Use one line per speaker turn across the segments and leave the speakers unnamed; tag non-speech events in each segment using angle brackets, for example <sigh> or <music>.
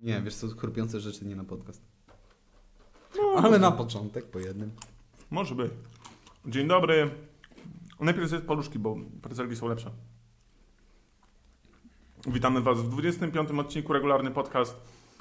Nie, wiesz co, korpiące rzeczy nie na podcast.
No,
Ale na początek, po jednym.
Może być. Dzień dobry. Najpierw zjedz paluszki, bo prezelki są lepsze. Witamy Was w 25 odcinku Regularny Podcast.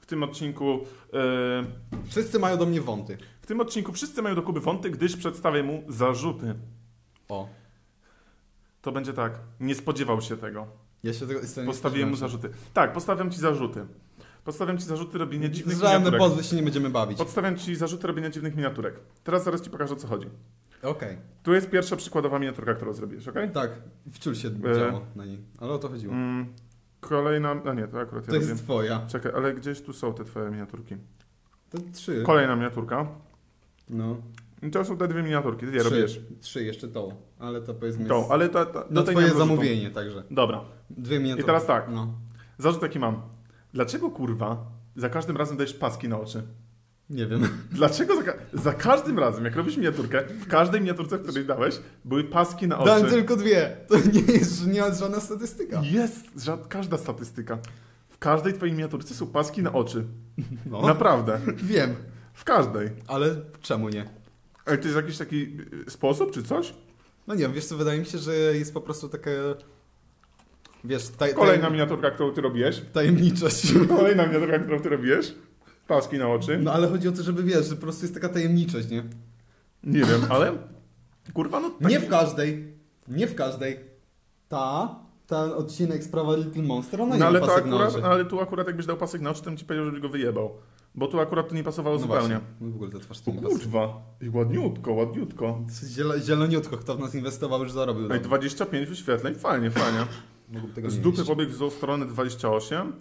W tym odcinku... e,
Wszyscy mają do mnie wąty.
w tym odcinku wszyscy mają do Kuby wąty, gdyż przedstawię mu zarzuty.
O,
To będzie tak. Nie spodziewał się tego.
ja się tego... jestem-
Postawiłem mu zarzuty. Tak, postawiam Ci zarzuty. Postawiam Ci zarzuty robienia dziwnych
Żadne
miniaturek.
pozwy się nie będziemy bawić. Okej.
Podstawiam Ci zarzuty robienia dziwnych miniaturek. Teraz zaraz Ci pokażę, o co chodzi. Tu jest pierwsza przykładowa miniaturka, którą zrobisz, okej?
Tak, wciul się
E.
działo na niej. Ale o to chodziło.
Mm, kolejna. A nie, to akurat
To
ja
jest
robię.
twoja.
Czekaj, ale gdzieś tu są te twoje miniaturki.
To trzy.
Kolejna miniaturka.
No.
I To są te dwie miniaturki, ty je
trzy.
robisz.
Trzy, jeszcze tą. Ale to powiedzmy jest...
Tą, ale ta, ta, do
No
tej
twoje
nie mam zarzutu.
zamówienie, także.
Dobra,
Dwie minuty.
I teraz tak.
No.
zarzut taki mam. Dlaczego kurwa za każdym razem dajesz paski na oczy?
Nie wiem.
Dlaczego za, ka- za każdym razem, jak robisz miniaturkę, w każdej miniaturce, w której dałeś, były paski na oczy?
Dałem tylko dwie. To nie jest, nie jest żadna statystyka.
Jest ża- każda statystyka. W każdej twojej miniaturce są paski na oczy.
No.
Naprawdę.
Wiem.
W każdej.
Ale czemu nie?
Ale to jest jakiś taki y, sposób czy coś?
No nie, wiesz co, wydaje mi się, że jest po prostu taka... Wiesz, taj,
Kolejna
tajem-
miniaturka, którą ty robisz. <laughs>
tajemniczość.
Kolejna miniaturka, którą ty robisz. Paski na oczy.
No ale chodzi o to, żeby wiesz, że po prostu jest taka tajemniczość, nie?
Tak. Nie wiem, ale... Kurwa, no tak.
Nie w każdej. Nie w każdej. Ta, ten odcinek sprawa Little Monster, ona
no,
nie
ale,
ma
to
pasek na
akurat,
oczy.
ale tu akurat jakbyś dał pasek na oczy, to bym ci powiedział, żebyś go wyjebał. Bo tu akurat to nie pasowało
no
zupełnie.
właśnie. No w ogóle ta twarz tu
O
nie pasuje.
kurwa. I ładniutko, ładniutko.
Zielo, zieloniutko, kto w nas inwestował, już zarobił.
No i 25 wyświetleń, fajnie, fajnie.
Mógłby <laughs> tego
Z
nie
dupy
mieć.
pobiegł w stronę 28,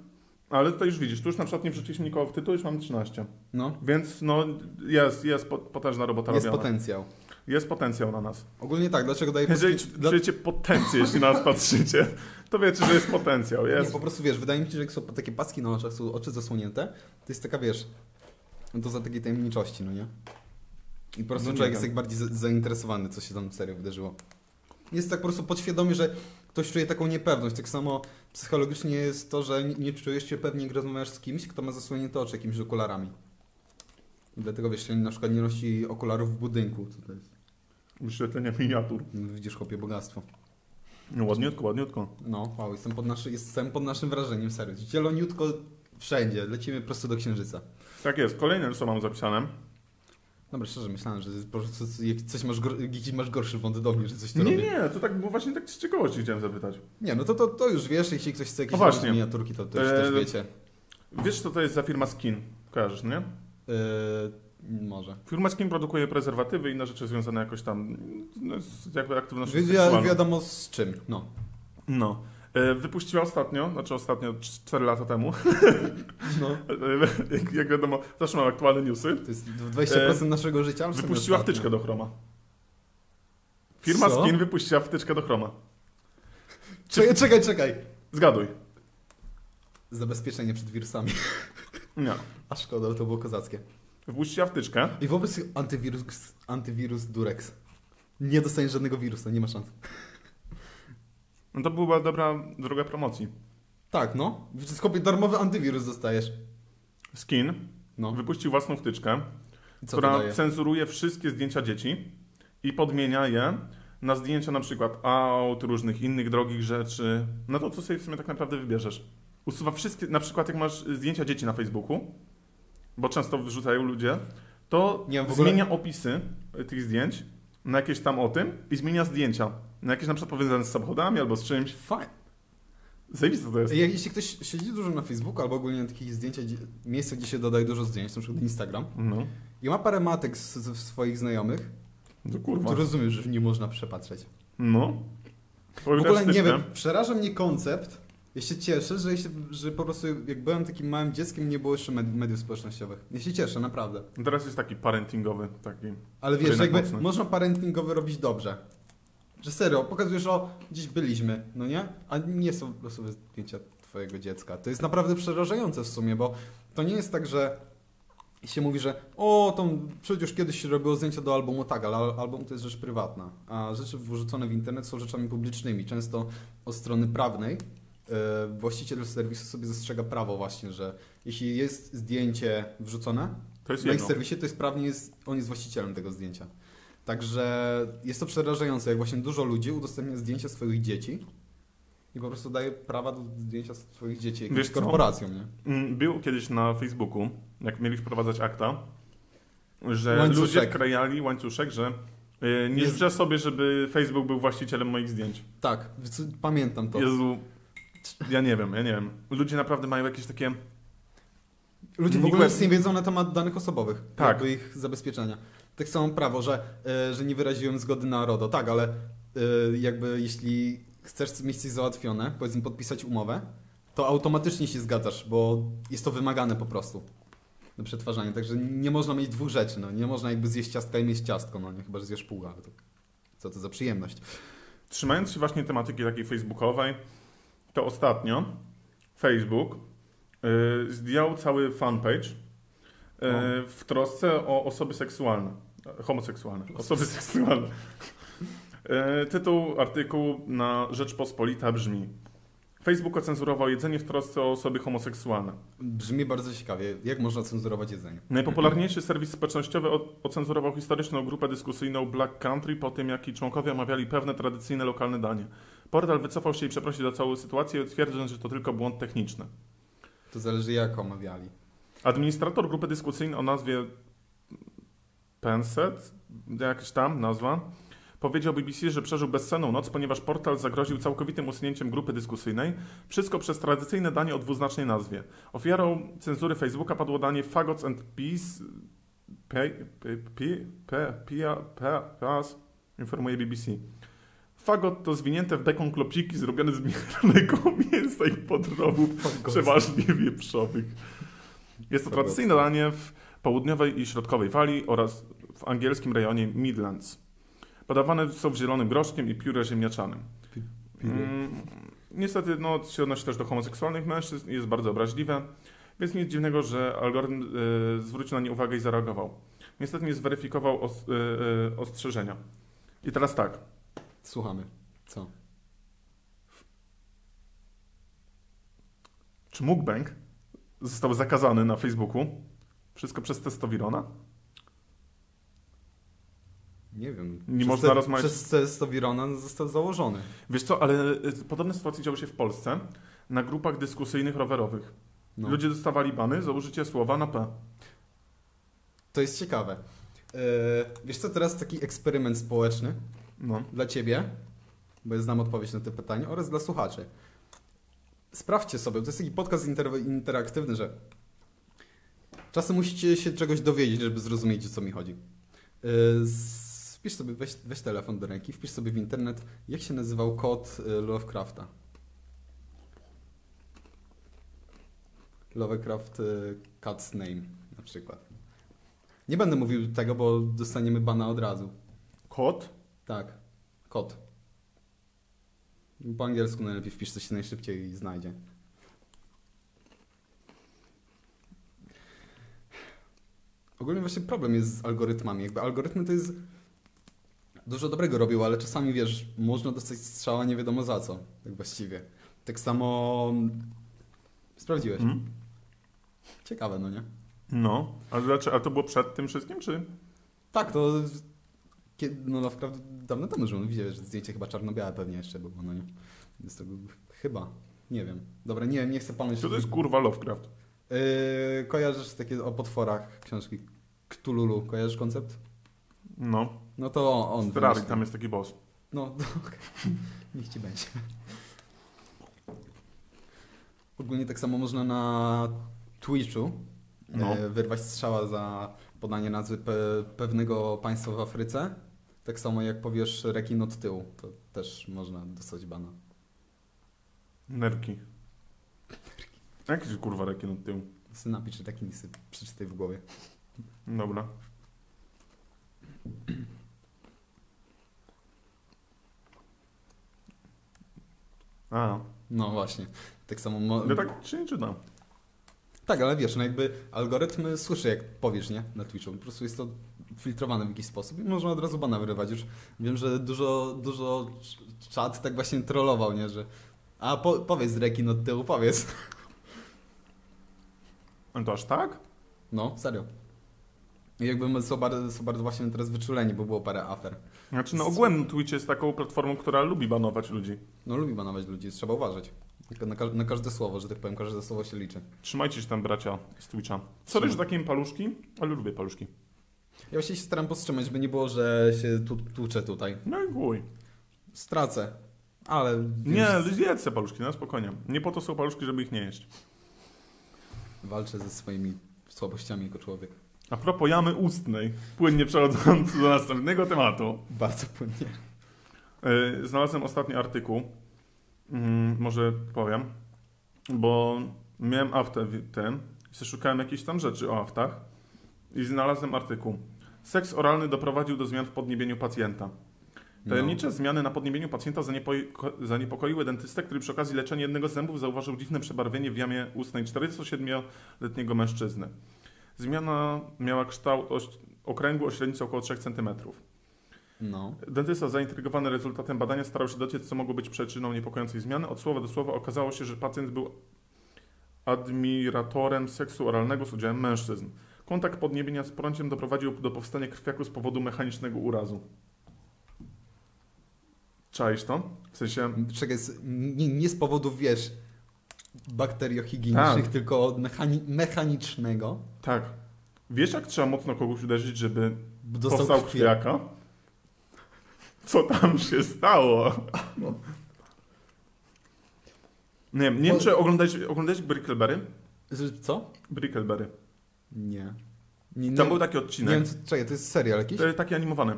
ale tutaj już widzisz, tu już na przykład nie wrzuciliśmy nikogo w tytuł, już mam 13.
No,
Więc no, jest, jest po- potężna robota
jest
robiona.
potencjał.
jest potencjał na nas.
Ogólnie tak, dlaczego daje
Jeżeli
paski- dla-
czujecie potencję, jeśli na nas patrzycie, to wiecie, że jest potencjał.
Nie,
Jest.
po prostu wiesz, wydaje mi się, że jak są takie paski na oczach, są oczy zasłonięte, to jest taka, wiesz, to za takiej tajemniczości, no nie? I po prostu
No nie
człowiek
wiem.
jest jak bardziej za- zainteresowany, co się tam serio wydarzyło. Jest tak po prostu podświadomie, że ktoś czuje taką niepewność. Tak samo psychologicznie jest to, że nie- nie czujesz się pewnie, jak rozmawiasz z kimś, kto ma zasłonięte oczy jakimiś okularami. Dlatego wiesz, na przykład nie nosi okularów w budynku. To to jest,
Wyświetlenie miniatur.
no, widzisz, chłopie, bogactwo.
No, ładniutko, ładniutko.
No, wow, jestem pod, naszy, jestem pod naszym wrażeniem, serio. Zieloniutko wszędzie, lecimy prosto do księżyca.
Tak jest. Kolejne, co mam zapisane.
Dobra, szczerze, myślałem, że po prostu co- jak coś masz, gor- jakiś masz gorszy wąt do mnie, że coś tu
Nie,
robię.
nie, to tak, bo właśnie tak z ciekawości chciałem zapytać.
Nie, no to, to, to już wiesz, jeśli ktoś chce
No
jakieś
właśnie.
miniaturki, to, to już
Eee,
też wiecie.
Wiesz, co to jest za firma Skin? Kojarzysz, nie?
Eee, może.
Firma Skin produkuje prezerwatywy i inne rzeczy związane jakoś tam no, z jakby aktywnością
Wiedzia,
seksualną.
wiadomo z czym, no.
No. E, Wypuściła ostatnio, znaczy ostatnio 4 lata temu. <laughs>
no.
E, jak, jak wiadomo, zawsze mam aktualne newsy.
To jest 20% naszego życia. ale w sumie
Eee, Wypuściła
ostatnio.
wtyczkę do chroma. Firma
Co?
Skin wypuściła wtyczkę do chroma.
Czekaj, czekaj, czekaj.
Zgaduj.
Zabezpieczenie przed wirusami.
Nie.
A szkoda, ale to było kozackie.
Wypuściła wtyczkę.
I wobec antywirus, antywirus Durex. Nie dostaniesz żadnego wirusa, nie ma szans.
No to była dobra droga promocji.
Tak, no. W kopie darmowy antywirus dostajesz.
Skin
No.
wypuścił własną wtyczkę,
I co to
która
daje?
cenzuruje wszystkie zdjęcia dzieci i podmienia je na zdjęcia na przykład aut, różnych innych drogich rzeczy. No to co sobie w sumie tak naprawdę wybierzesz. Usuwa wszystkie, na przykład jak masz zdjęcia dzieci na Facebooku, bo często wyrzucają ludzie, to
Nie, w ogóle-
zmienia opisy tych zdjęć na jakieś tam o tym i zmienia zdjęcia na jakieś na przykład powiązane z samochodami albo z czymś.
Fajnie.
Zajebiste to jest.
Jak, jeśli ktoś siedzi dużo na Facebooku albo ogólnie na takich zdjęciach, gdzie, miejscach, gdzie się dodaje dużo zdjęć, na przykład Instagram,
No,
i ma parę matek z, z swoich znajomych,
to no kurwa.
to rozumiem, że nie można przepatrzeć.
No.
W ogóle nie wiem, przeraża mnie koncept. Ja się cieszę, że, ja się, że po prostu jak byłem takim małym dzieckiem, nie było jeszcze med- mediów społecznościowych. Ja się cieszę, naprawdę.
Teraz jest taki parentingowy, taki.
Ale wiesz,
Rynek
jakby
mocny.
można parentingowy robić dobrze. Że serio, pokazujesz, o, gdzieś byliśmy, no nie? A nie są losowe zdjęcia twojego dziecka. To jest naprawdę przerażające w sumie, bo to nie jest tak, że się mówi, że o, to przecież kiedyś się robiło zdjęcia do albumu, tak, ale al- album to jest rzecz prywatna. A rzeczy wrzucone w internet są rzeczami publicznymi, często od strony prawnej. e, właściciel serwisu sobie zastrzega prawo właśnie, że jeśli jest zdjęcie wrzucone
To jest
na ich
jedno.
No serwisie, to jest prawnie jest, on jest właścicielem tego zdjęcia. Także jest to przerażające, jak właśnie dużo ludzi udostępnia zdjęcia swoich dzieci i po prostu daje prawa do zdjęcia swoich dzieci jakimś
Wiesz co?
korporacjom, nie?
Mm, Był kiedyś na Facebooku, jak mieli wprowadzać akta, że
Łańcuszek.
ludzie wkrajali łańcuszek, że y, nie
Jest-
życzę sobie, żeby Facebook był właścicielem moich zdjęć.
Tak, więc pamiętam to.
Jezu, ja nie wiem, ja nie wiem. Ludzie naprawdę mają jakieś takie...
Ludzie w ogóle
Nikłe-
nic nie wiedzą na temat danych osobowych,
Tak.
jakby ich zabezpieczenia. Tak samo prawo, że, e, że nie wyraziłem zgody na RODO. Tak, ale e, jakby jeśli chcesz mieć coś załatwione, powiedzmy podpisać umowę, to automatycznie się zgadzasz, bo jest to wymagane po prostu do przetwarzania. Także nie można mieć dwóch rzeczy. No. Nie można jakby zjeść ciastka i mieć ciastko, no nie chyba, że zjesz pół, ale to, co to za przyjemność.
Trzymając się właśnie tematyki takiej facebookowej, to ostatnio Facebook y, zdjął cały fanpage y, w trosce o osoby seksualne, e, homoseksualne, osoby seksualne. Y, Tytuł artykułu na Rzeczpospolita brzmi Facebook ocenzurował jedzenie w trosce o osoby homoseksualne.
Brzmi bardzo ciekawie, jak można cenzurować jedzenie.
Najpopularniejszy serwis społecznościowy o- ocenzurował historyczną grupę dyskusyjną Black Country po tym, jak jej członkowie omawiali pewne tradycyjne lokalne danie. Portal wycofał się i przeprosił za całą sytuację, twierdząc, że to tylko błąd techniczny.
To zależy jak omawiali.
Administrator grupy dyskusyjnej o nazwie Penset, jakaś tam nazwa, powiedział BBC, że przeżył bezsenną noc, ponieważ portal zagroził całkowitym usunięciem grupy dyskusyjnej, wszystko przez tradycyjne danie o dwuznacznej nazwie. Ofiarą cenzury Facebooka padło danie Fagots and Peace... Pe, pe, pe, pe, pe, pe, pas, informuje BBC. Fagot to zwinięte w bekon klopsiki zrobione z mielonego <laughs> mięsa i podrobów przeważnie wieprzowych. Jest to tradycyjne
tak.
danie w południowej i środkowej Walii oraz w angielskim rejonie Midlands. Podawane są w zielonym groszkiem i piórze ziemniaczanym.
Pi- pióre.
Mm, niestety no, się odnosi też do homoseksualnych mężczyzn i jest bardzo obraźliwe, więc nic dziwnego, że algorytm y, zwrócił na nie uwagę i zareagował. Niestety nie zweryfikował os, y, y, ostrzeżenia. I teraz tak.
Słuchamy. Co?
Czy mukbang został zakazany na Facebooku? Wszystko przez testowirona?
Nie wiem.
Nie można rozmawiać-
Przez Cestowirona został założony.
Wiesz co, ale y, podobne sytuacje działy się w Polsce na grupach dyskusyjnych rowerowych.
No.
Ludzie dostawali bany za użycie słowa na P.
To jest ciekawe. Yy, wiesz co, teraz taki eksperyment społeczny
No.
dla ciebie, bo ja znam odpowiedź na to pytanie, oraz dla słuchaczy. Sprawdźcie sobie, to jest taki podcast inter- interaktywny, że czasem musicie się czegoś dowiedzieć, żeby zrozumieć, o co mi chodzi. Yy, s- wpisz sobie, weź, weź telefon do ręki, wpisz sobie w internet, jak się nazywał kod y, Lovecrafta. Lovecraft y, Cat's Name na przykład. Nie będę mówił tego, bo dostaniemy bana od razu.
Kot?
Tak, kot. Po angielsku najlepiej wpisz, co się najszybciej i znajdzie. Ogólnie właśnie problem jest z algorytmami. Jakby algorytmy to jest... Dużo dobrego robił, ale czasami, wiesz, można dostać strzała nie wiadomo za co. Tak właściwie. Tak samo... Sprawdziłeś.
Mm.
Ciekawe, no nie?
No. A, dlaczego, a to było przed tym wszystkim, czy?
Tak, to... Kiedy, no Lovecraft dawno temu żył, no widziałeś, że zdjęcie chyba czarno-białe pewnie jeszcze było, no nie? Jest to chyba, nie wiem. Dobra, nie wiem, nie chcę panu
Co to jest kurwa Lovecraft?
Yy, kojarzysz takie o potworach książki Cthulhu, kojarzysz koncept?
No.
No to on.
On
on
Strary,
wymyślił.
tam jest taki boss.
No, <laughs> to okej. Niech ci będzie. Ogólnie tak samo można na Twitchu
No.
e, wyrwać strzała za podanie nazwy pe pewnego państwa w Afryce. Tak samo jak powiesz rekin od tyłu, to też można dostać bana.
Nerki. Jakiś kurwa rekin od tyłu.
Synapi czy taki nisy, przeczytaj w głowie.
Dobra. A,
No właśnie, tak samo... Mo-
ja tak czy nie czytam.
Tak, ale wiesz, no jakby algorytm słyszy, jak powiesz, nie? Na Twitchu. Po prostu jest to filtrowane w jakiś sposób i można od razu bana wyrywać. Już wiem, że dużo, dużo cz- czat tak właśnie trollował, nie? Że A po, powiedz rekin od tyłu, powiedz.
No to aż tak?
No, serio. I Jakby są bardzo, są bardzo właśnie teraz wyczuleni, bo było parę afer.
Znaczy, no ogólnie Twitch jest taką platformą, która lubi banować ludzi.
No lubi banować ludzi, trzeba uważać. Na, ka- na każde słowo, że tak powiem, każde słowo się liczy.
Trzymajcie się tam, bracia z Twitcha. Sorry, że takie paluszki, ale lubię paluszki.
Ja właśnie się staram powstrzymać, żeby nie było, że się tu, tłuczę tutaj.
No i gój.
Stracę. Ale...
Nie, jedz te paluszki, na spokojnie. Nie po to są paluszki, żeby ich nie jeść.
Walczę ze swoimi słabościami jako człowiek.
A propos jamy ustnej, płynnie przechodząc do następnego tematu.
Bardzo płynnie.
Yy, Znalazłem ostatni artykuł. Mm, Może powiem. Bo miałem aftę w- ten. i sobie Szukałem jakichś tam rzeczy o aftach. I znalazłem artykuł. Seks oralny doprowadził do zmian w podniebieniu pacjenta.
No.
Tajemnicze zmiany na podniebieniu pacjenta zaniepoko- zaniepokoiły dentystę, który przy okazji leczenia jednego z zębów zauważył dziwne przebarwienie w jamie ustnej 47-letniego mężczyzny. Zmiana miała kształt oś- okręgu o średnicy około 3 cm.
No.
Dentysta zaintrygowany rezultatem badania starał się dociec, co mogło być przyczyną niepokojącej zmiany. Od słowa do słowa okazało się, że pacjent był admiratorem seksu oralnego z udziałem mężczyzn. Kontakt podniebienia z prąciem doprowadził do powstania krwiaku z powodu mechanicznego urazu. Czaisz to? W sensie...
no. Czekaj, s- nie, nie z powodów, wiesz, bakteriohigienicznych,
Tak.
tylko od mechani mechanicznego.
Tak. Wiesz, jak trzeba mocno kogoś uderzyć, żeby
Dostał
powstał
krwi-
krwiaka? Co tam się stało? Nie wiem, nie wiem,
Bo-
czy oglądałeś, oglądałeś Brickleberry?
Że- Co?
Brickleberry.
Nie. nie, nie
Tam był taki
nie wiem,
odcinek,
co, czekaj, to jest serial jakiś?
e, taki animowany.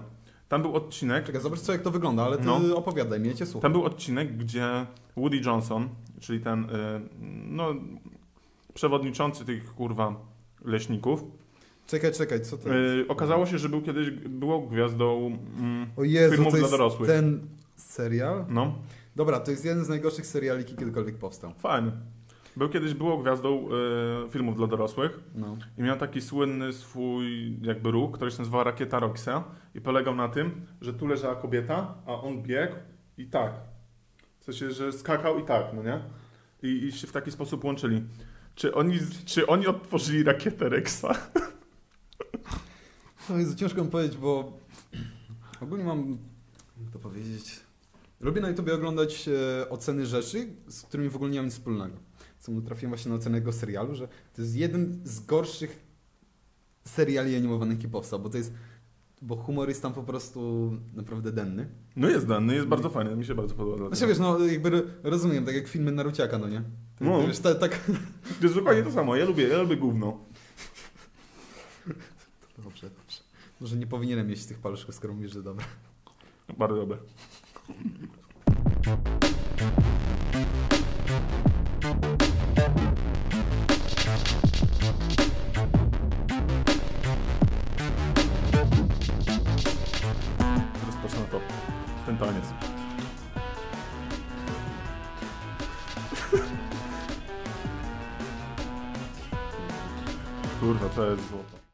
Tam był odcinek,
Czekaj, zobacz co jak to wygląda, ale ty
No.
opowiadaj, mnie cię słucham.
tam był odcinek, gdzie Woody Johnson, czyli ten e, no, przewodniczący tych kurwa leśników,
Czekaj, czekaj, co to jest?
e, okazało się, że był kiedyś było gwiazdą. Mm,
O Jezu,
filmów
to
dla
jest
dorosłych.
ten serial?
no,
Dobra, to jest jeden z najgorszych seriali, jaki kiedykolwiek powstał.
fajny. Był kiedyś było gwiazdą e, filmów dla dorosłych.
No.
I miał taki słynny swój jakby ruch, który się nazywał Rakieta Roxa i polegał na tym, że tu leżała kobieta, a on biegł i tak. W sensie, że skakał i tak, no nie? I, i się w taki sposób łączyli. Czy oni, czy oni odtworzyli rakietę Rexa?
To jest No ciężko mi powiedzieć, bo ogólnie mam, jak to powiedzieć, lubię na YouTubie oglądać e, oceny rzeczy, z którymi w ogóle nie mam nic wspólnego. Co mu trafiłem właśnie na ocenę tego serialu, że to jest jeden z gorszych seriali animowanych, jaki powstał, bo to jest, bo humor jest tam po prostu naprawdę denny.
No jest dany, jest bardzo fajny, mi się bardzo podoba.
Znaczy
dlatego.
wiesz, no jakby ro- rozumiem, tak jak filmy Naruciaka, no nie? Ty,
No.
ty, wiesz, ta, tak...
To jest dokładnie to samo, ja lubię, ja lubię gówno.
Dobrze, dobrze. Może nie powinienem jeść tych paluszków, skoro mówisz, że dobra.
Bardzo dobre. Rozpocznę to. Ten taniec. <laughs> Kurwa, to jest złoto.